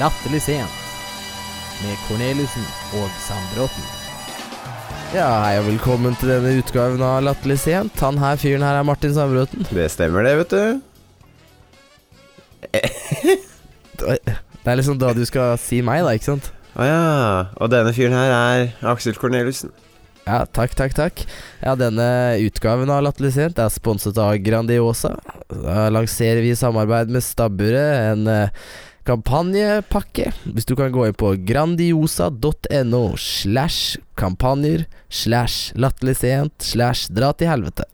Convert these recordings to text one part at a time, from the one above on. Latterlig sent med Corneliussen og Sandbråten. Ja, hei og velkommen til denne utgaven av Latterlig sent. Han her fyren her er Martin Sandbråten. Det stemmer det, vet du. Det er liksom da du skal si meg, da, ikke sant? Å ja. Og denne fyren her er Aksel Korneliussen. Ja, takk, takk, takk. Ja, denne utgaven av Latterlig sent er sponset av Grandiosa. Da lanserer vi i samarbeid med Stabburet en eh, kampanjepakke. Hvis du kan gå inn på grandiosa.no slash kampanjer slash latterlig sent slash dra til helvete.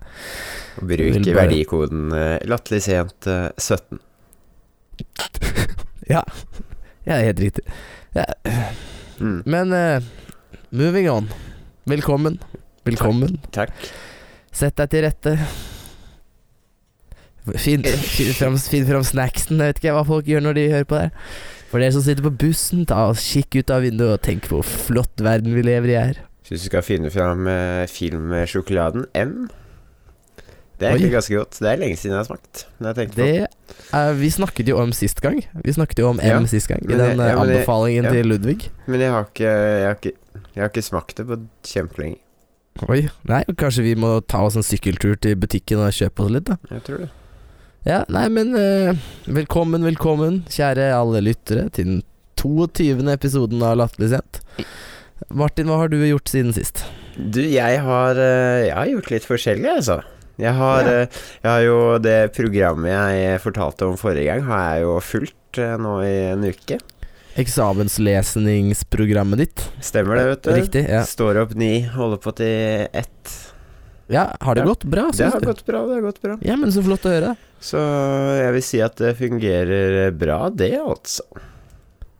Bruk Vil bare- verdikoden eh, latterlig sent eh, 17. Ja, helt riktig. Mm. Men eh, moving on. Velkommen. Velkommen. Takk. Sett deg til rette. Finn, finn, fram, finn fram snacksen. Jeg vet ikke hva folk gjør når de hører på det. her. For dere som sitter på bussen, ta og kikk ut av vinduet og tenk på hvor flott verden vi lever i her. Syns du skal finne fram eh, filmsjokoladen M. Det Oi. er egentlig ganske godt. Det er lenge siden jeg har smakt. Når jeg tenkte på. Det er, vi snakket jo om sist gang. Vi snakket jo om M Ja. sist gang. I Men den eh, det- ja, men det- anbefalingen ja. til Ludvig. det. Men jeg har, ikke, jeg, har ikke, jeg har ikke smakt det på kjempelenge. Oi. Nei, kanskje vi må ta oss en sykkeltur til butikken og kjøpe oss litt, da. Jeg tror det. Ja, nei, men eh, velkommen, velkommen, kjære alle lyttere, til den 22. episoden av Latterlig sent. Martin, hva har du gjort siden sist? Du, jeg har, eh, jeg har gjort litt forskjellig, altså. Jeg har, Ja. eh, jeg har jo det programmet jeg fortalte om forrige gang, har jeg jo fulgt eh, nå i en uke. Eksamenslesningsprogrammet ditt? Stemmer det, vet du. Riktig. Ja, Står opp ni, holder på til ett. ja har det Ja, gått bra? Det synes har du? gått bra, det har gått bra. Ja, men så flott å høre. Så jeg vil si at det fungerer bra, det, altså.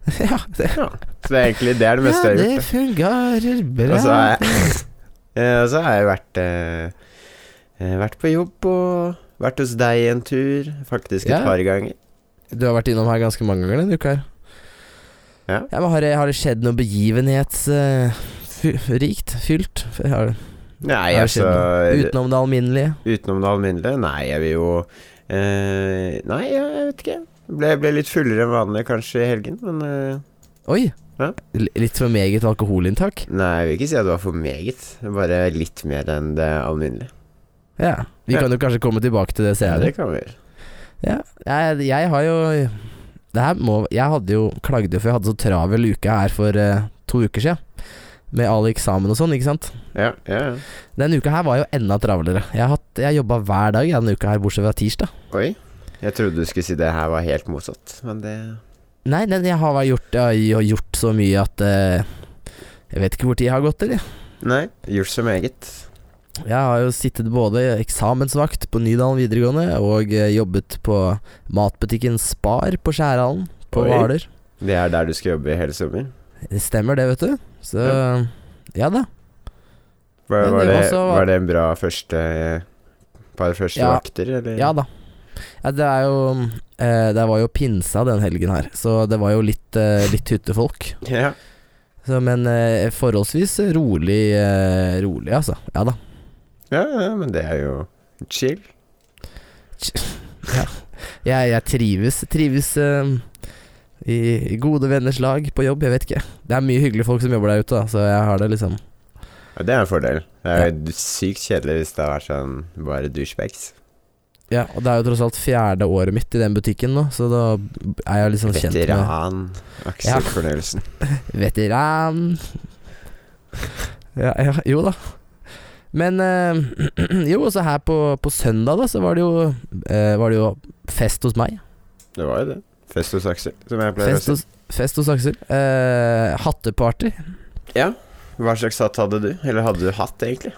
ja, det, Ja. Så det er egentlig det er det meste ja, jeg har det gjort. da. fungerer bra. Og så har jeg, Eh, og så har jeg vært, eh, eh, vært på jobb og vært hos deg en tur, faktisk et Ja. par ganger. Du har vært innom her ganske mange ganger denne uka her. Ja. men har, det, har det skjedd noe begivenhetsrikt? rikt? fylt? Har, Nei, har det skjedd altså noe utenom det alminnelige? Utenom det alminnelige? Nei, jeg vil jo eh, Nei, jeg jeg vet ikke. Ble, ble litt fullere enn vanlig kanskje i helgen, men eh, Oi! Ja. L- Litt for meget alkoholinntak? Nei, jeg vil ikke si at det var for meget. Bare litt mer enn det alminnelige. Ja. Vi Ja. kan jo kanskje komme tilbake til det senere. det kan vi gjøre. Ja. Jeg, jeg har jo det her må, Jeg hadde jo klagde for jeg hadde så travel uke her for eh, to uker siden. Med all eksamen og sånn, ikke sant. Ja, ja, ja. Denne uka her var jo enda travlere. Jeg har hatt- jeg jobba hver dag jeg, denne uka her, bortsett fra tirsdag. Oi. Jeg trodde du skulle si det her var helt motsatt, men det Nei, den, jeg har bare gjort, jeg har gjort så mye at eh, Jeg vet ikke hvor tid jeg har gått, eller. Nei. Gjort så meget. Jeg har jo sittet både eksamensvakt på Nydalen videregående og eh, jobbet på matbutikken Spar på Skjærhallen på Oi. Hvaler. Det er der du skal jobbe i hele sommer? Det stemmer det, vet du. Så ja, Ja. da. Men Var, det var var, det, også- var det en bra første par første Ja. vakter, eller? Ja da. Ja, det er jo eh, Det var jo pinsa den helgen her, så det var jo litt, eh, litt hyttefolk. Ja. Så, men eh, forholdsvis rolig, eh, rolig, altså. Ja da. Ja, ja, men det er jo chill. Jeg, jeg trives, trives eh, i, i gode venners lag på jobb, jeg vet ikke. Det er mye hyggelige folk som jobber der ute, da, så jeg har det liksom Ja, det er en fordel. Det er jo sykt kjedelig hvis det har vært sånn bare douchebags. Ja, og det er jo tross alt fjerde året mitt i den butikken nå, så da er jeg liksom kjent med Veteran Ja. Aksel Korneliussen. Veteran. Ja, ja, jo da. Men eh, jo, så her på, på søndag, da, så var det jo, eh, var det jo fest hos meg. Det var jo det. Fest hos Aksel, som jeg pleier Fest å si. hos, fest hos Aksel. Eh, hatteparty. Ja. Hva slags hatt hadde du? Eller hadde du hatt, egentlig?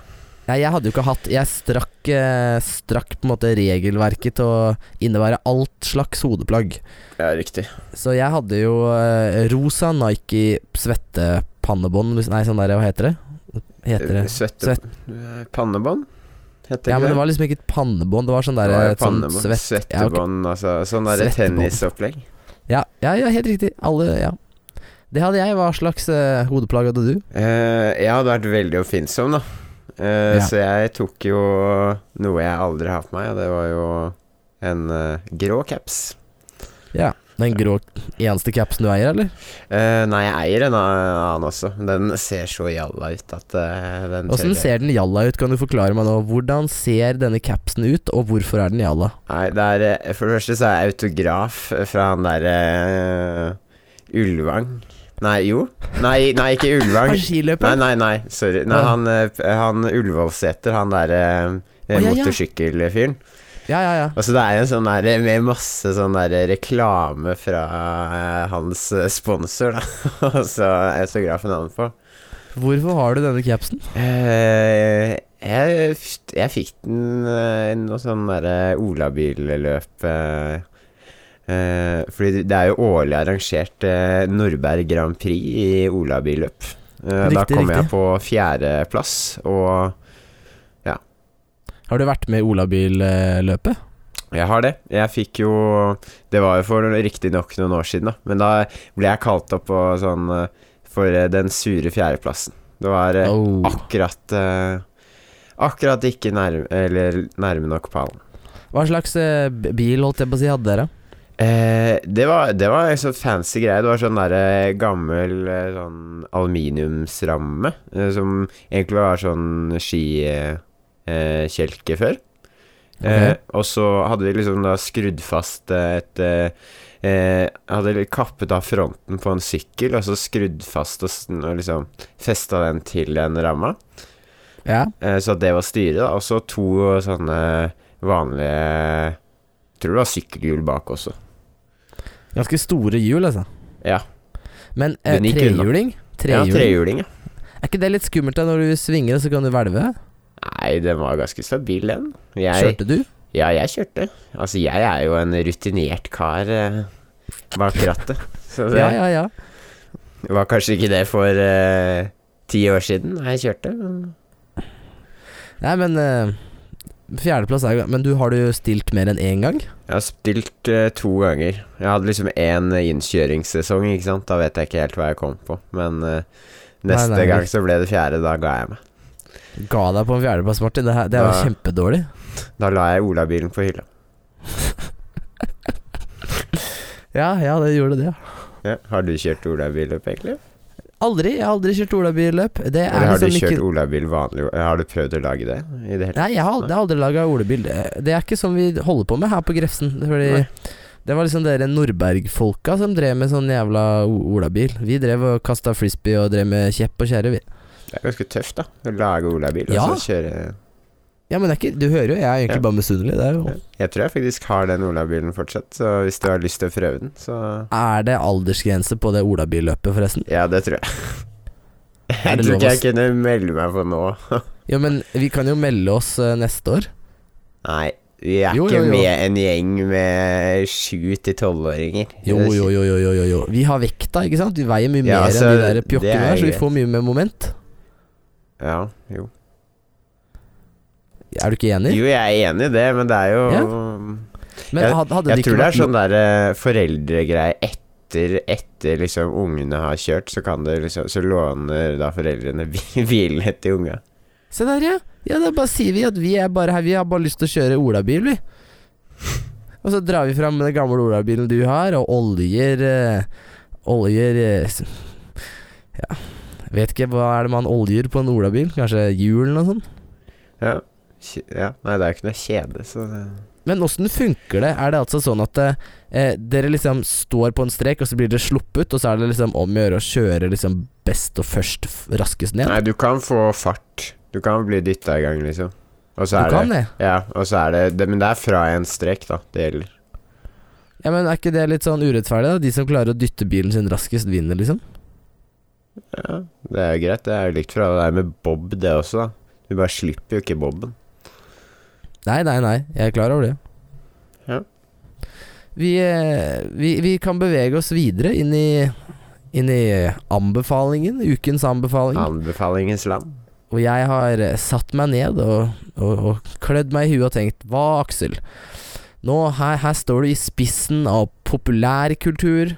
Nei, jeg hadde jo ikke hatt Jeg strakk, eh, strakk på en måte regelverket til å innebære alt slags hodeplagg. Ja, riktig. Så jeg hadde jo eh, rosa Nike svettepannebånd hvis- Nei, sånn der, hva heter det? Heter Eh, det? Svette... Eh, Pannebånd? Heter Ja, men det det? var liksom ikke et pannebånd, det var sånn der Det var jo et sånn pannebånd. svett... ja, ok. Svettebånd, altså. Sånn derre Svettebånd. tennisopplegg. Ja, ja, ja, helt riktig. Alle, ja. Det hadde jeg. Hva slags eh, hodeplagg hadde du? Eh, jeg hadde vært veldig oppfinnsom, da. Eh, Ja. Så jeg tok jo noe jeg aldri har på meg, og det var jo en eh, grå caps. Ja. Den grå eneste capsen du eier, eller? Eh, nei, jeg eier en annen også. Den ser så jalla ut at eh, den Åssen tør jeg- ser den jalla ut? Kan du forklare meg nå? Hvordan ser denne capsen ut, og hvorfor er den jalla? Nei, det er eh, For det første så er jeg autograf fra han derre Ulvang. Nei, jo. Nei, nei ikke Ulvang. Er skiløper? Nei, nei, nei. Sorry. Nei, Hva? han, eh, p- han Ullevålseter, han derre Å, ja, ja. motorsykkelfyren. Ja, ja, ja. Altså, det er en sånn der med masse sånn der reklame fra eh, hans eh, sponsor, da. Og så er autografen han på. Hvorfor har du denne capsen? Eh, jeg, f- jeg fikk den eh, i noe sånn derre olabilløp eh, eh, Fordi det er jo årlig arrangert eh, Nordberg Grand Prix i olabilløp. Eh, da Riktig, kom riktig. jeg på fjerdeplass, og Har du vært med i Olabilløpet? jeg har det. Jeg fikk jo Det var jo for riktignok noen år siden, da, men da ble jeg kalt opp på sånn eh, for eh, den sure fjerdeplassen. Det var eh, Oh. akkurat eh, Akkurat ikke nærme, eller nærme nok pallen. Hva slags eh, b- bil holdt jeg på å si hadde dere? Eh, det var, det var en sånn fancy greie. Det var sånn der eh, gammel eh, sånn aluminiumsramme eh, som egentlig var sånn skikjelke eh, kjelke før. Eh, og så hadde vi liksom da skrudd fast eh, et eh, eh, Hadde litt kappet av fronten på en sykkel, og så skrudd fast og, sn- og liksom festa den til den ramma. Ja. Eh, Så det var styret, da. Og så to sånne vanlige Tror det var sykkelhjul bak også. Ganske store hjul, altså. Ja. Men eh, Den gikk unna. trehjuling? Ja, Trehjuling. trehjuling, ja. er ikke det litt skummelt da når du svinger og så kan du hvelve? Nei, den var ganske stabil, den. Jeg, Kjørte du? ja, jeg kjørte. Altså, jeg er jo en rutinert kar eh, bak rattet. Så det Ja, ja, ja. var kanskje ikke det for eh, ti år siden da jeg kjørte. men- Nei, men eh, Fjerdeplass er jo Men du har du stilt mer enn én gang? Jeg har spilt eh, to ganger. Jeg hadde liksom én innkjøringssesong, ikke sant. Da vet jeg ikke helt hva jeg kom på. Men eh, Nei, neste nei. gang så ble det fjerde. Da ga jeg meg. Ga deg på en fjerdeplass, Martin. Det, her, det er jo Ja. kjempedårlig. Da la jeg olabilen på hylla. Ja, ja, det gjorde det. Ja. Har du kjørt olabil, egentlig? Aldri. Jeg har aldri kjørt olabilløp. Det er Eller har du liksom kjørt ikke olabil vanlig? Har du prøvd å lage det? I det hele Nei, jeg har aldri, aldri laga olebil. Det er ikke sånn vi holder på med her på Grefsen. Fordi Nei. det var liksom dere Nordberg-folka som drev med sånn jævla o- olabil. Vi drev og kasta frisbee og drev med kjepp og kjerre, vi. Det er ganske tøft, da. Å lage olabil Ja. og så kjøre Ja, men det er ikke, du hører jo, jeg er egentlig Ja. bare misunnelig. Det er jo Jeg tror jeg faktisk har den olabilen fortsatt, så hvis du har lyst til å prøve den, så Er det aldersgrense på det olabilløpet, forresten? Ja, det tror jeg. Er Jeg det tror lov ikke å jeg kunne melde meg på nå. Jo, men vi kan jo melde oss eh, neste år. Nei. Vi er Jo, ikke jo, jo. med en gjeng med sju til tolvåringer. Jo, jo, jo, jo, jo, jo, jo. Vi har vekta, ikke sant? Vi veier mye Ja, mer altså, enn de der det pjokkene der, er så vi greit. får mye mer moment. Ja, jo. Er du ikke enig? jo, jeg er enig i det, men det er jo Men jeg- hadde, hadde Jeg det ikke tror det er vært sånn der eh, foreldregreie etter, etter liksom ungene har kjørt, så kan det liksom Så låner da foreldrene bi- bilene til unga. Se der, ja. Ja, Da bare sier vi at vi er bare her, vi har bare lyst til å kjøre olabil, vi. Og så drar vi fram den gamle olabilen du har, og oljer eh, Oljer eh, s- Ja, vet ikke hva er det man oljer på en olabil? Kanskje hjulene og sånn? Ja. Kj- ja. Nei, det er jo ikke noe kjede, så det Men åssen funker det? Er det altså sånn at eh, dere liksom står på en strek, og så blir dere sluppet, og så er det liksom om å gjøre å kjøre liksom best og først, f- raskest ned? Nei, du kan få fart. Du kan bli dytta i gang, liksom. Og så du er kan det, det. Ja, og så er det, det Men det er fra en strek, da. Det gjelder. Ja, men Er ikke det litt sånn urettferdig? da? De som klarer å dytte bilen sin raskest, vinner, liksom? Ja, det er jo greit. Det er jo likt fra det der med bob, det også, da. Du bare slipper jo ikke boben. Nei, nei, nei. Jeg er klar over det. Ja. Vi, eh, vi, vi kan bevege oss videre inn i, inn i anbefalingen. Ukens anbefaling. Anbefalingens land. Og jeg har eh, satt meg ned og, og, og klødd meg i huet og tenkt Hva, Aksel? Nå, her, her står du i spissen av populærkultur,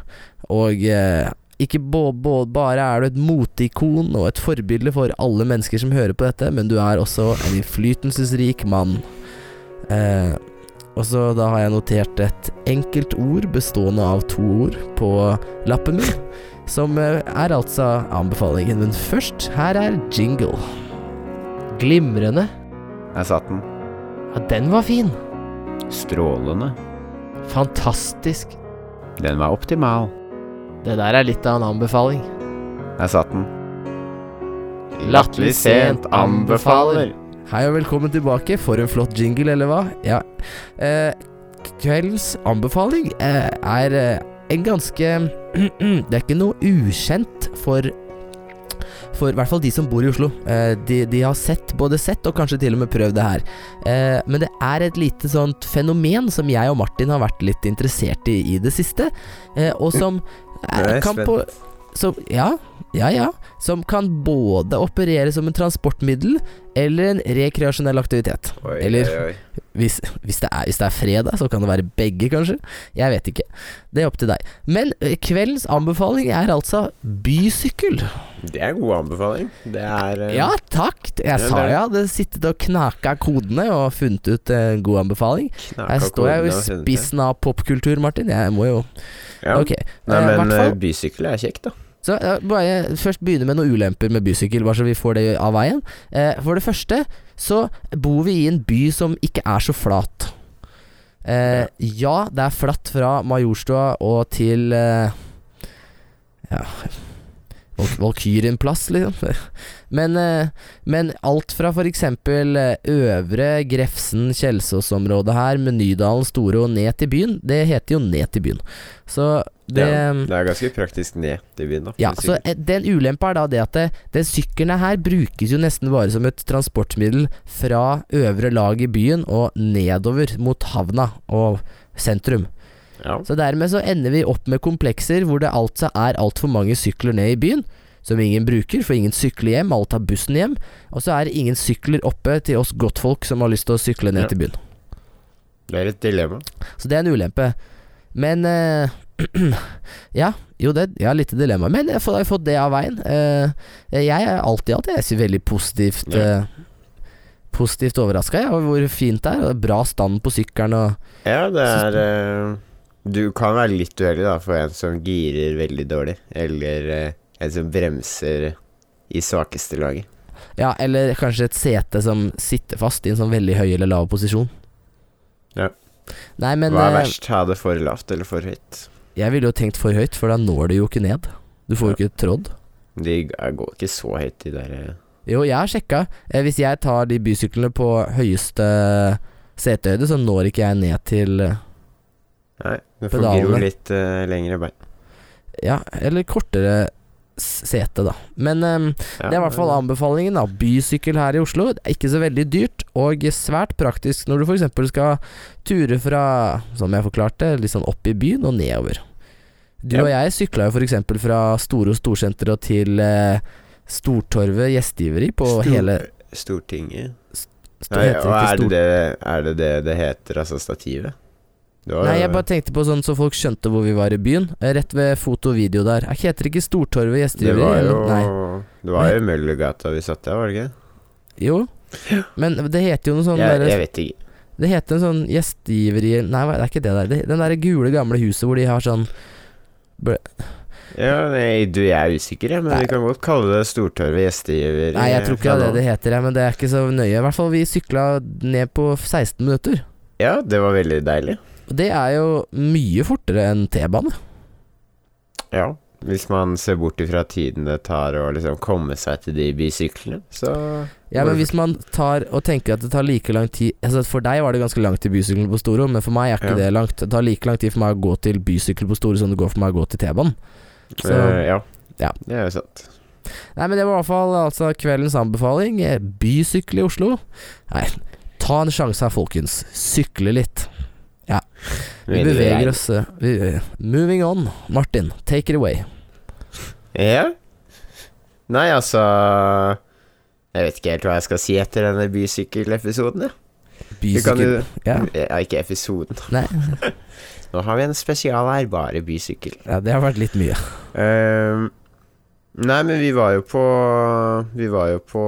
og eh, ikke bå, bå, bare er du et moteikon og et forbilde for alle mennesker som hører på dette, men du er også en innflytelsesrik mann. Eh, og Og så da har jeg notert et enkelt ord bestående av to ord på lappen min, som eh, er altså anbefalingen. Men først, her er jingle. Glimrende. Jeg satt den. Ja, den var fin. Strålende. Fantastisk. Den var optimal. Det der er litt av en anbefaling. Jeg satt den. Latterlig sent anbefaler. Hei og velkommen tilbake. For en flott jingle, eller hva? Ja. Eh, kveldens anbefaling eh, er eh, en ganske Det er ikke noe ukjent for for i hvert fall de som bor i Oslo. Eh, de, de har sett, både sett og kanskje til og med prøvd det her. Eh, men det er et lite sånt fenomen som jeg og Martin har vært litt interessert i i det siste, eh, og som Nå er eh, jeg kan på som, ja, ja, ja. Som kan både operere som en transportmiddel eller en rekreasjonell aktivitet. Oi, Eller- oi, oi. Hvis, hvis, det er, hvis det er fredag, så kan det være begge, kanskje. Jeg vet ikke. Det er opp til deg. Men eh, kveldens anbefaling er altså bysykkel. Det er en god anbefaling. Det er eh, Ja, takk. Jeg det sa er- jeg hadde sittet og knaka kodene og funnet ut eh, en god anbefaling. knakk Her av står jeg jo kodene i og funnet det. spissen av popkultur, Martin. Jeg må jo Ja. Ok. Nei, eh, men hvertfall- eh, bysykkel er kjekt, da. Så ja, bare først begynne med noen ulemper med bysykkel, bare så vi får det av veien. Eh, for det første så bor vi i en by som ikke er så flat. Eh, ja, det er flatt fra Majorstua og til eh, Ja Valk- Valkyrien-plass, liksom. Men, eh, men alt fra f.eks. Øvre Grefsen, Kjelsås-området her, med Nydalen, Store og ned til byen, det heter jo ned til byen. Så det ja, det er ganske praktisk ned til byen, da. ja, med så sykkel. eh, Den ulempa er da det at det, den sykkelen her brukes jo nesten bare som et transportmiddel fra øvre lag i byen og nedover mot havna og sentrum. ja. Så dermed så ender vi opp med komplekser hvor det altså er altfor mange sykler ned i byen. Som ingen bruker, for ingen sykler hjem. Alle tar bussen hjem. Og så er det ingen sykler oppe til oss godtfolk som har lyst til å sykle ned Ja. til byen. Det er et dilemma. Så det er en ulempe. Men eh, Ja, jo det Jeg har litt dilemma, men jeg får- jeg har fått det av veien. Eh, jeg er alltid alltid jeg er veldig positivt eh, Positivt overraska jeg, over hvor fint det er. Og det er bra stand på sykkelen og Ja, det er eh, Du kan være litt uheldig, da, for en som girer veldig dårlig, eller eh, en som bremser i svakeste laget. Ja, eller kanskje et sete som sitter fast i en sånn veldig høy eller lav posisjon. Ja. Nei, men Hva eh, er verst? Ha det for lavt eller for høyt? jeg ville jo tenkt for høyt, for da når du jo ikke ned. Du får jo ikke trådd. De g- eh, går ikke så høyt, de der eh. Jo, jeg har sjekka. Eh, Hvis jeg tar de bysyklene på høyeste setehøyde, så når ikke jeg ned til eh, Nei, du får Pedalene. gro litt eh, lengre bein. Ja, eller kortere s- sete, da. Men ehm, Ja, det er i hvert fall anbefalingen. da Bysykkel her i Oslo. Det er ikke så veldig dyrt, og svært praktisk når du f.eks. skal ture fra, som jeg forklarte, litt sånn opp i byen og nedover. Du Ja. og jeg sykla jo f.eks. fra Storo Storsenter og til eh, Stortorvet gjestgiveri på Stor- hele Stortinget sto- Nei, heter og ikke er Stor- det, det, er det det det heter, altså stativet? Det var- Nei, jeg bare tenkte på sånn så folk skjønte hvor vi var i byen. Eh, Rett ved foto og video der. Jeg heter ikke Stortorvet Det gjestgiveri? var jo eller- Nei. Det var jo Møllergata vi satt der, var det ikke? Jo. Men det heter jo noe sånn Jeg, jeg derre- vet ikke. Det heter en sånn gjestgiveri Nei, hva- det er ikke det der. Det, den derre gule, gamle huset hvor de har sånn Ja, nei, du, jeg er usikker, jeg, men Nei. vi kan godt kalle det Stortorvet gjestgiver. eh, Nei, jeg tror ikke det er det det heter, jeg, men det er ikke så nøye. I hvert fall vi sykla ned på 16 minutter. Ja, det var veldig deilig. Og det er jo mye fortere enn T-bane. Ja. Hvis man ser bort ifra tiden det tar å liksom komme seg til de bysyklene, så Ja, men hvis man tar og tenker at det tar like lang tid Altså For deg var det ganske langt til bysykkelen på Storo, men for meg er ikke Ja. det langt. Det tar like lang tid for meg å gå til bysykkel på Storo som det går for meg å gå til T-banen. Så- Eh, ja. Ja. Det er jo sant. Nei, men det var i hvert fall altså, kveldens anbefaling. Eh, Bysykle i Oslo. Nei, ta en sjanse her, folkens. Sykle litt. Vi Veldig beveger deilig. oss. eh, Vi, eh, moving on. Martin, take it away. Ja. Nei, altså Jeg vet ikke helt hva jeg skal si etter denne bysykkelepisoden, jeg. Vi kan Bysykkel. jo Ja. Ja, ikke episoden. Nei. Nå har vi en spesial her, bare bysykkel. ja, det har vært litt mye. Ehm, nei, men vi var jo på Vi var jo på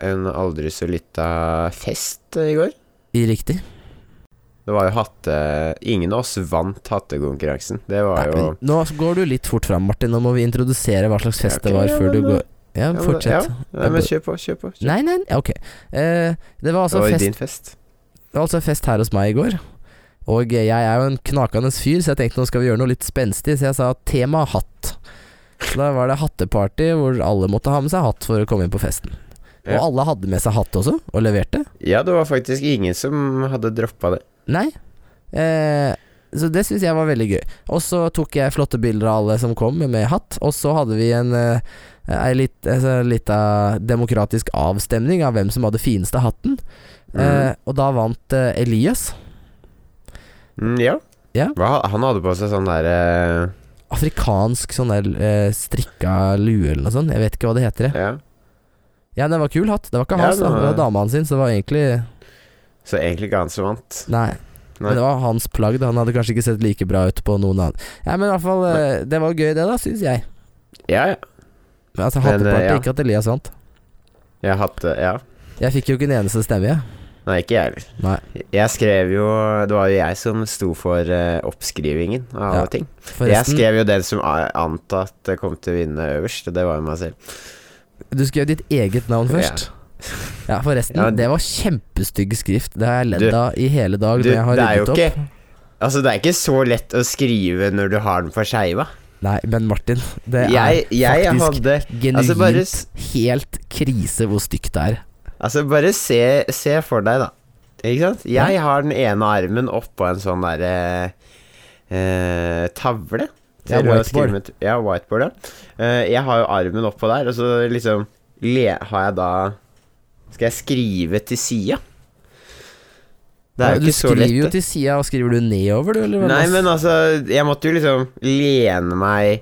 en aldri så lita fest eh, i går. I riktig. Det var jo hatte... Ingen av oss vant hattekonkurransen. Det var Nei, jo men nå går du litt fort fram, Martin. Nå må vi introdusere hva slags fest Ja, ok, det var ja, før du men, går Ja, men- fortsett. Nei, men kjør på, kjør på. Kjør. Nei, nei, ja, ok. Eh, det var det altså var jo fest, din fest. det var altså fest her hos meg i går. Og eh, jeg er jo en knakende fyr, så jeg tenkte nå skal vi gjøre noe litt spenstig, så jeg sa tema hatt. Så da var det hatteparty hvor alle måtte ha med seg hatt for å komme inn på festen. Og Ja. alle hadde med seg hatt også, og leverte. Ja, det var faktisk ingen som hadde droppa det. Nei. Eh, så det syns jeg var veldig gøy. Og så tok jeg flotte bilder av alle som kom med hatt, og så hadde vi en eh, ei litt, altså, lita demokratisk avstemning av hvem som hadde fineste hatten. Eh, og da vant eh, Elias. Mm, ja. Ja. Hva, han hadde på seg sånn der eh, Afrikansk sånn der eh, strikka lue eller noe sånt. Jeg vet ikke hva det heter. jeg. Ja. Ja, det var kul hatt. Det var ikke Ja, hans, det da. var- det var dama hans sin, så det var egentlig Så egentlig ikke han som vant. Nei. Nei. Men det var hans plagg. da. Han hadde kanskje ikke sett like bra ut på noen annen. Ja, men i hvert fall, eh, det var gøy, det, da, syns jeg. Ja, ja. Men Altså Men, eh, Hatteparty, ja. ikke at Elias vant. Jeg hadde Ja. Jeg fikk jo ikke en eneste stemme, jeg. Nei, ikke jeg heller. Nei. Jeg skrev jo Det var jo jeg som sto for eh, oppskrivingen av Ja, alle ting. Jeg skrev jo den som a- antatt kom til å vinne øverst, og det var jo meg selv. du skrev ditt eget navn Ja. først. Ja, forresten. Ja, det var kjempestygg skrift. Det har jeg Du- ledd av i hele dag Du, når jeg har det er jo ryddet opp. ikke Altså, det er ikke så lett å skrive når du har den for skeiva. Nei, men Martin, det Jeg, jeg faktisk hadde er genuint altså bare, s- helt krise hvor stygt det er. altså, bare se, se for deg, da. Ikke sant? Jeg har den ene armen oppå en sånn derre eh, tavle. Ja, til å whiteboard. skrive med t- Ja, whiteboard, ja. Eh, jeg har jo armen oppå der, og så liksom le, har jeg da Skal jeg skrive til sida? Det er Ja, jo ikke du så lett. skriver jo det. til sida, og skriver du nedover, du, eller hva? Nei, men altså Jeg måtte jo liksom lene meg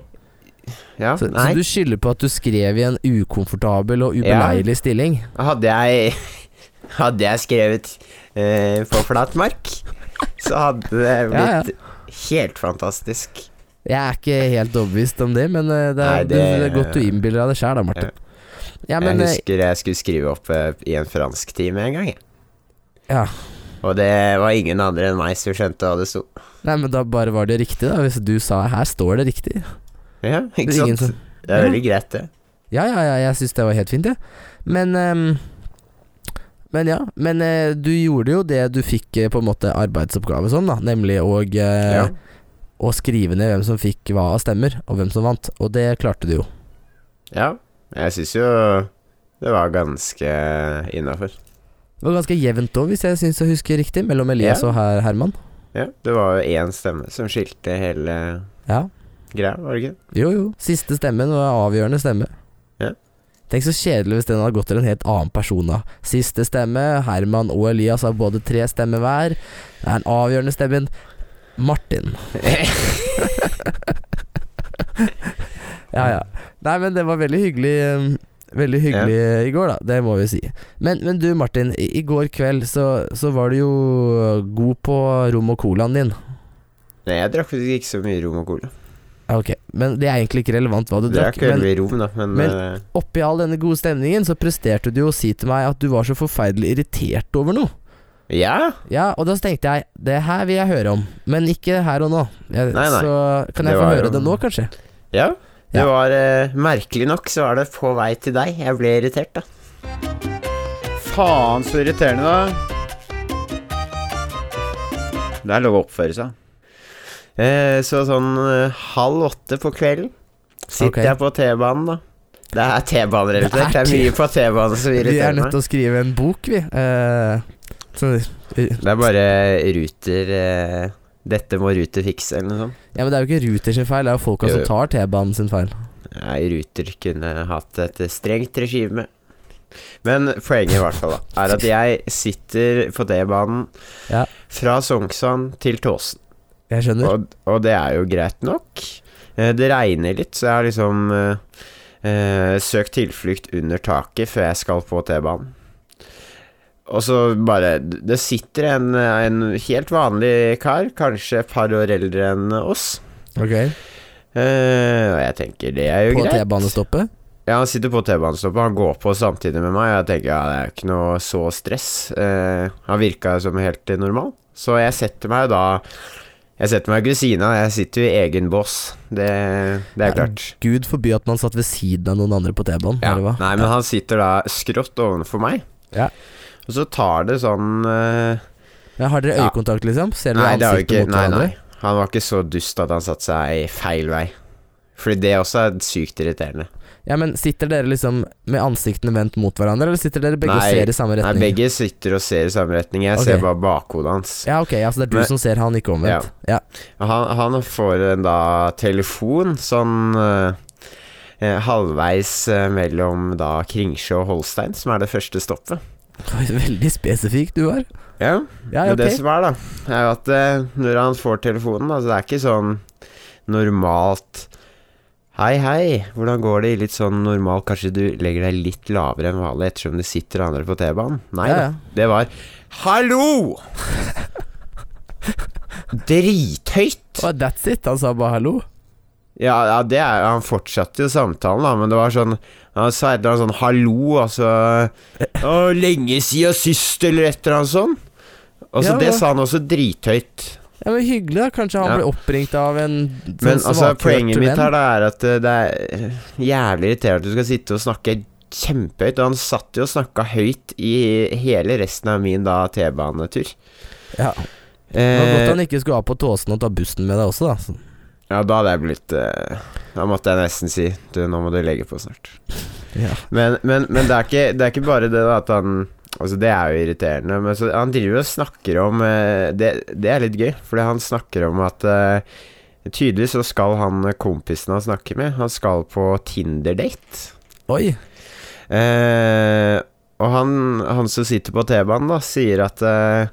Ja, så, nei. så du skylder på at du skrev i en ukomfortabel og ubeleilig stilling? Hadde jeg Hadde jeg skrevet eh, på flatmark, så hadde det Ja, ja. blitt helt fantastisk. Jeg er ikke helt overbevist om det, men eh, det er, Nei, det, det- er godt du innbiller deg det sjøl, da, Martin. Ja, men jeg eh, husker jeg skulle skrive opp eh, i en fransktime en gang, jeg. Ja. Og det var ingen andre enn meg som skjønte hva det sto. Nei, men da bare var det riktig, da. Hvis du sa 'her står det riktig'. Ja, ikke Det er ingen sant? som- Det er Ja. veldig greit, det. Ja, ja, ja, jeg syns det var helt fint, jeg. Men ehm, Men ja. Men eh, du gjorde jo det du fikk eh, på en måte arbeidsoppgave sånn, da. Nemlig å, eh, Ja. å skrive ned hvem som fikk hva av stemmer, og hvem som vant. Og det klarte du jo. ja. Jeg syns jo det var ganske innafor. Det var ganske jevnt òg, hvis jeg syns jeg husker riktig, mellom Elias Ja. og her Herman. Ja, det var jo én stemme som skilte hele Ja. greia, var det ikke? det? Jo, jo. Siste stemmen var avgjørende stemme. Ja. Tenk så kjedelig hvis den hadde gått til en helt annen person, da. Siste stemme, Herman og Elias har både tre stemmer hver. Det er den avgjørende stemmen. Martin. ja, ja. Nei, men det var veldig hyggelig. um, Veldig hyggelig i går, da. Det må vi si. Men, men du, Martin. I, i går kveld så, så var du jo god på rom og colaen din. Nei, jeg drakk faktisk ikke så mye rom og cola. Ok, Men det er egentlig ikke relevant hva du Det er drakk. ikke men- veldig rom, da, men, men- eh, Oppi all denne gode stemningen så presterte du jo å si til meg at du var så forferdelig irritert over noe. Ja! Ja, og da tenkte jeg det her vil jeg høre om, men ikke her og nå. Jeg, Nei, nei. Så kan Det jeg få var høre jo- det nå, kanskje? ja. Det Ja. var eh, Merkelig nok så var det på vei til deg. Jeg ble irritert, da. Faen så irriterende, da. Det er lov å oppføre seg. Eh, så sånn eh, halv åtte på kvelden sitter Ok. jeg på T-banen, da. Det er Det er T-banerelatert. Det er T- mye på T-banen som Vi er irriterer nødt meg. til å skrive en bok, vi. Eh, så, Det er bare Ruter eh, Dette må Ruter fikse, eller noe sånt. ja, men det er jo ikke Ruter sin feil, det er jo folka Jo, som jo. tar T-banen sin feil. Nei, Ruter kunne hatt et strengt regime. Men poenget i hvert fall da, er at jeg sitter på T-banen Ja. fra Sognsvann til Tåsen. Jeg skjønner. Og, og det er jo greit nok. Eh, Det regner litt, så jeg har liksom eh, eh, søkt tilflukt under taket før jeg skal på T-banen. Og så bare Det sitter en, en helt vanlig kar, kanskje et par år eldre enn oss. Ok, Eh, og jeg tenker det er jo På greit. T-banestoppet. Ja, han sitter på T-banestoppet, han går på samtidig med meg. Jeg tenker ja, det er ikke noe så stress. Eh, han virka som helt eh, normal. Så jeg setter meg da Jeg setter meg i kusina, jeg sitter jo i egen bås. Det, det er Ja, klart. Gud forby at man satt ved siden av noen andre på T-banen. Ja. eller hva? Nei, men han sitter da skrått ovenfor meg. Ja. Og så tar det sånn eh, Ja, har dere Ja. øyekontakt, liksom? Ser dere Nei, det har jo ansiktet ikke mot Nei, nei. hverandre? Han var ikke så dust at han satte seg feil vei. Fordi det også er sykt irriterende. Ja, men Sitter dere liksom med ansiktene vendt mot hverandre, eller sitter dere begge Nei, og ser i samme Nei, retning? begge sitter og ser i samme retning. Jeg Ok. ser bare bakhodet hans. Ja, ok, altså det er du Men- som ser han, ikke omvendt. Ja. Han, han får en da telefon sånn eh, eh, halvveis eh, mellom da Kringsjå og Holstein, som er det første stoppet. Oi, Veldig spesifikk du var. Ja, Ja, Men ok. det som er, da, er jo at eh, når han får telefonen, da, så det er ikke sånn normalt Hei, hei, hvordan går det? Litt sånn normal Kanskje du legger deg litt lavere enn vanlig ettersom det sitter andre på T-banen? Nei Ja, da. ja. Det var Hallo! Drithøyt! Og that's it. Han sa bare hallo. Ja, ja det er, han fortsatte jo samtalen, da, men det var sånn Han sa et eller annet sånn 'hallo', altså å, 'Lenge siden sist', eller et eller annet sånn. Og så Ja, Det ja. sa han også drithøyt. Ja, men Hyggelig. da Kanskje han Ja. ble oppringt av en sånn Men altså, svakhørt poenget mitt venn. her da er at eh, det er eh, jævlig irriterende at du skal sitte og snakke kjempehøyt. Og han satt jo og snakka høyt i hele resten av min da T-banetur. Ja. Det var godt Eh, han ikke skulle av på tåsen og ta bussen med deg også, da. Så- ja, da hadde jeg blitt eh, Da måtte jeg nesten si Du, nå må du legge på snart. Ja. Men, men, men det, er ikke, det er ikke bare det da at han Altså Det er jo irriterende, men så, han driver og snakker om eh, det, det er litt gøy, fordi han snakker om at eh, Tydeligvis så skal han eh, kompisen han snakker med, han skal på Tinder-date. Oi. Eh, og han, han som sitter på T-banen, da, sier at eh,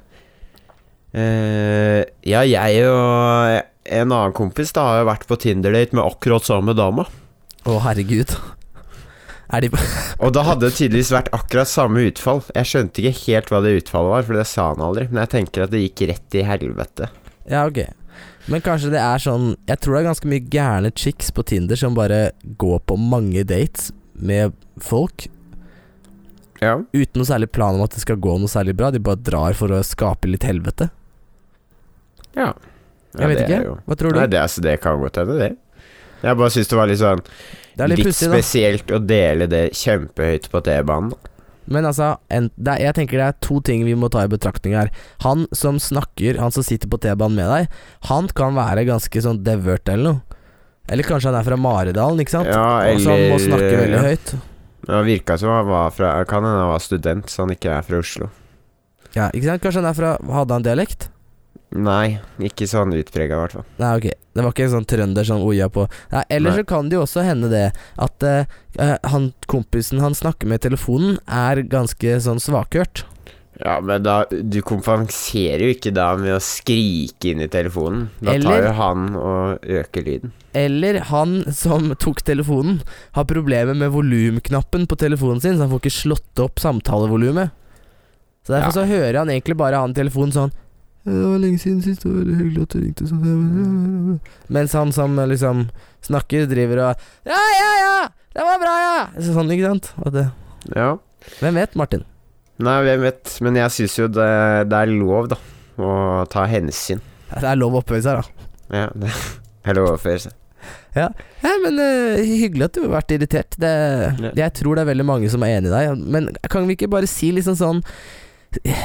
eh, Ja, jeg og en annen kompis da har jo vært på Tinder-date med akkurat samme dama. Å, herregud. Er de Og da hadde det tydeligvis vært akkurat samme utfall. Jeg skjønte ikke helt hva det utfallet var, for det sa han aldri. Men jeg tenker at det gikk rett i helvete. Ja, ok. Men kanskje det er sånn Jeg tror det er ganske mye gærne chicks på Tinder som bare går på mange dates med folk Ja. uten noe særlig plan om at det skal gå noe særlig bra. De bare drar for å skape litt helvete. ja. Jeg vet det er ikke. jo- Hva tror du? Nei, det, altså, det kan godt hende, det. Jeg bare syns det var litt sånn det er litt litt pussig, da. spesielt å dele det kjempehøyt på T-banen. Men altså, en, det er, jeg tenker det er to ting vi må ta i betraktning her. Han som snakker, han som sitter på T-banen med deg, han kan være ganske sånn devørt eller noe. Eller kanskje han er fra Maridalen, ikke sant? Ja, Og så han må snakke eller- veldig høyt. Men Han virka som han var fra Kan hende han var student, så han ikke er fra Oslo. Ja, ikke sant? Kanskje han er fra Hadde han dialekt? Nei, ikke sånn utprega, i hvert fall. Nei, ok. Det var ikke en sånn trønder sånn oja på Nei, Eller Nei. så kan det jo også hende det at eh, eh, han kompisen han snakker med i telefonen, er ganske sånn svakhørt. Ja, men da Du kompenserer jo ikke da med å skrike inn i telefonen. Da Eller- tar jo han og øker lyden. Eller han som tok telefonen, har problemer med volumknappen på telefonen sin, så han får ikke slått opp samtalevolumet. Så derfor så hører han egentlig bare han i telefonen sånn «Ja, det var lenge siden sist, det var veldig hyggelig at du ringte sånn Mens han som liksom snakker, driver og Ja, ja, ja! Det var bra, ja! Så Sånn, ikke sant? At det, Ja. hvem vet, Martin? Nei, hvem vet. Men jeg syns jo det, det er lov, da. Å ta hensyn. Det er lov å opphøye seg, da. Ja, det er lov å oppføre seg. Nei, men eh, Hyggelig at du har vært irritert. Det, Ja. Jeg tror det er veldig mange som er enig i deg. Men kan vi ikke bare si liksom sånn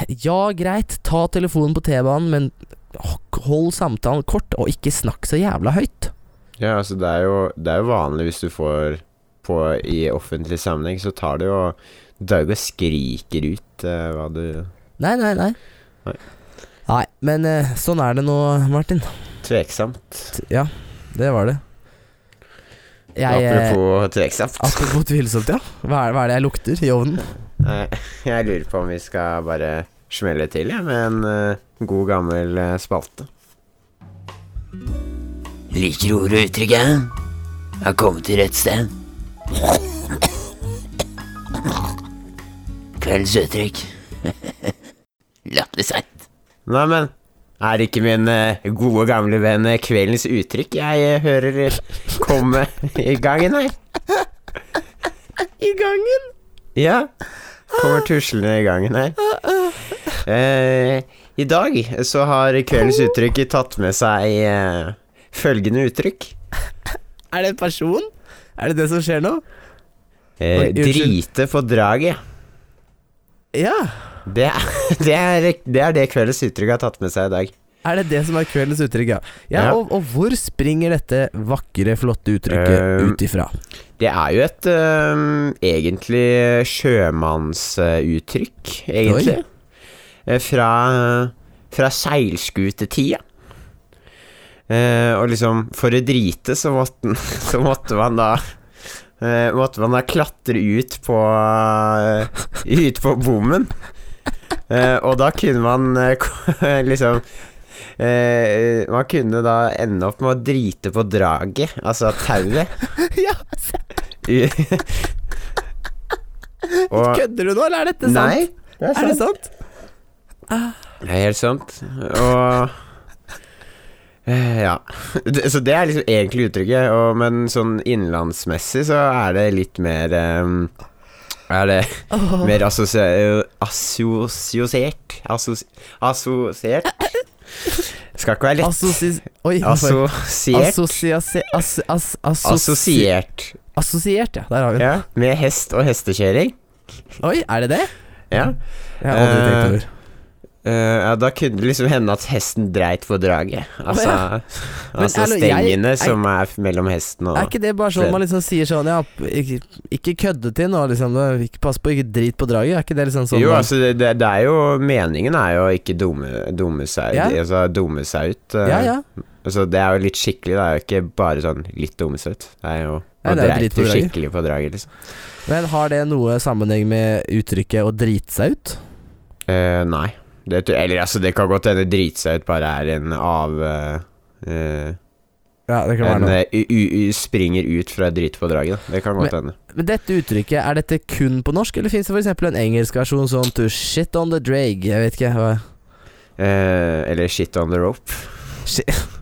Ja, greit, ta telefonen på T-banen, men hold samtalen kort, og ikke snakk så jævla høyt. Ja, altså, det er jo, det er jo vanlig hvis du får på i offentlig sammenheng, så tar det jo Du er jo ikke og skriker ut eh, hva du Nei, nei, nei. Nei. Nei, men eh, sånn er det nå, Martin. Tveksomt. Ja, det var det. Jeg, eh, ah. Apropos tveksomt. apropos tvilsomt, ja. Hva er, hva er det jeg lukter i ovnen? Nei, Jeg lurer på om vi skal bare smelle til ja, med en eh, god gammel eh, spalte. Liker ord og uttrykket? Har kommet til rett sted. Kveldens uttrykk. Latterseint. Nei, men er ikke min eh, gode gamle venn eh, kveldens uttrykk jeg eh, hører eh, komme i gangen her? i gangen. Ja, kommer tuslende i gangen her. Eh, I dag så har kveldens uttrykk tatt med seg eh, følgende uttrykk. Er det en person? Er det det som skjer nå? Eh, Oi, unnskyld. drite på draget. Ja. Det er, det, er, det er det kveldens uttrykk har tatt med seg i dag. Er det det som er kveldens uttrykk, ja? ja, Ja. Og, og hvor springer dette vakre, flotte uttrykket Eh, ut ifra? Det er jo et øhm, egentlig sjømannsuttrykk, egentlig. Eh, Fra, fra seilskutetida. Eh, og liksom, for å drite, så måtte, den- så måtte man da eh, Måtte man da klatre ut på eh, Ut på bommen. Eh, og da kunne man eh, ko- liksom eh, Man kunne da ende opp med å drite på draget, altså tauet. Ja, I- og, Kødder du nå, eller er dette sant? ah. nei, Er det det sant? Det er helt sant. Og eh, ja. Det- Så det er liksom egentlig uttrykket, og, men sånn innenlandsmessig så er det litt mer ehm, Er det mer assosie- assosiert Assos- Assosiert? Skal ikke være lett. Assosi... Oi. sorry. Assosiert. Assosiase- ass- ass- assosi- Assosiert. Assosiert, ja. Der har vi den. Ja, med hest og hestekjøring. Oi, er det det? Ja. Jeg har aldri tenkt Eh, over. Eh, ja, da kunne det liksom hende at hesten dreit på draget. Altså, ja. Men altså hallo, jeg- stengene jeg- som er f- mellom hesten og Er ikke det bare sånn man liksom sier sånn Ja, ikke, ikke kødde til nå, liksom. da- Ikke pass på, ikke drit på draget. Er ikke det liksom sånn Jo, man- altså, det, det, det er jo Meningen er jo å ikke dumme, dumme seg Ja. Altså dumme seg ut. eh, Ja, ja. Altså, det er jo litt skikkelig, det er jo ikke bare sånn litt dumme seg ut. Det er jo Nei, Man det er jo drit dreit på jo draget. skikkelig på draget, liksom. Men har det noe sammenheng med uttrykket 'å drite seg ut'? Eh, nei. Det, tror- eller altså, det kan godt hende drite seg ut bare er en av eh, eh, Ja, det kan være En noe. eh, u, u, u springer ut fra drite på draget, da. Det kan godt hende. Men dette uttrykket, er dette kun på norsk, eller fins det f.eks. en engelsk versjon sånn to shit on the drag? Jeg vet ikke. hva Eh, eller shit on the rope. Shit.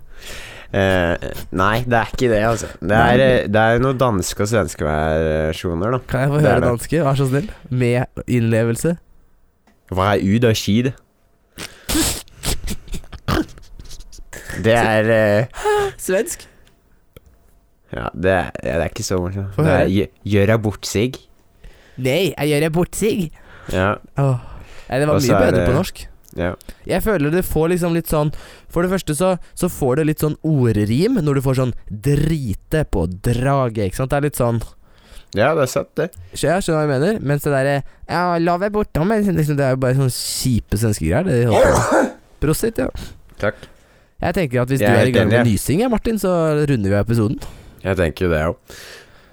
Eh, nei, det er ikke det, altså. Det er, eh, det er noen danske og svenske versjoner, da. Kan jeg få Det er høre det. danske, vær så snill? Med innlevelse. Hva er ud og skid? Det er eh, Svensk. Ja, det er, ja, det er ikke så morsomt. Få Det er høre. gjø- gjøra bort sig. Nei, jeg gjør det bort sig. Ja. Åh. Nei, det var Og så mye er bedre det- på norsk. ja. Jeg føler det får liksom litt sånn For det første så, så får det litt sånn ordrim når du får sånn drite på draget, ikke sant? Det er litt sånn ja, det er sant, det. Skjø- Jeg skjønner hva jeg mener. Mens det derre Ja, la meg bortom meg», liksom, Det er jo bare sånne kjipe svenske greier. Det holder på. Prosit, ja. Takk. Jeg tenker at hvis Jeg du er er i helt gang med enig, nysing, ja, Martin, så runder vi av episoden. Jeg tenker jo det òg.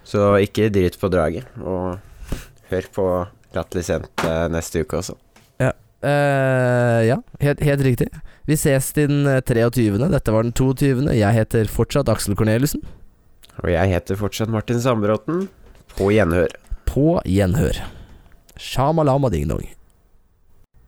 Så ikke drit på draget. Og hør på Latterlig sendt eh, neste uke også. Eh, ja, helt, helt riktig. Vi ses den eh, 23. Dette var den 22. Jeg heter fortsatt Aksel Korneliussen. Og jeg heter fortsatt Martin Sandbråten. På gjenhør. På gjenhør. Shamalama ding-dong.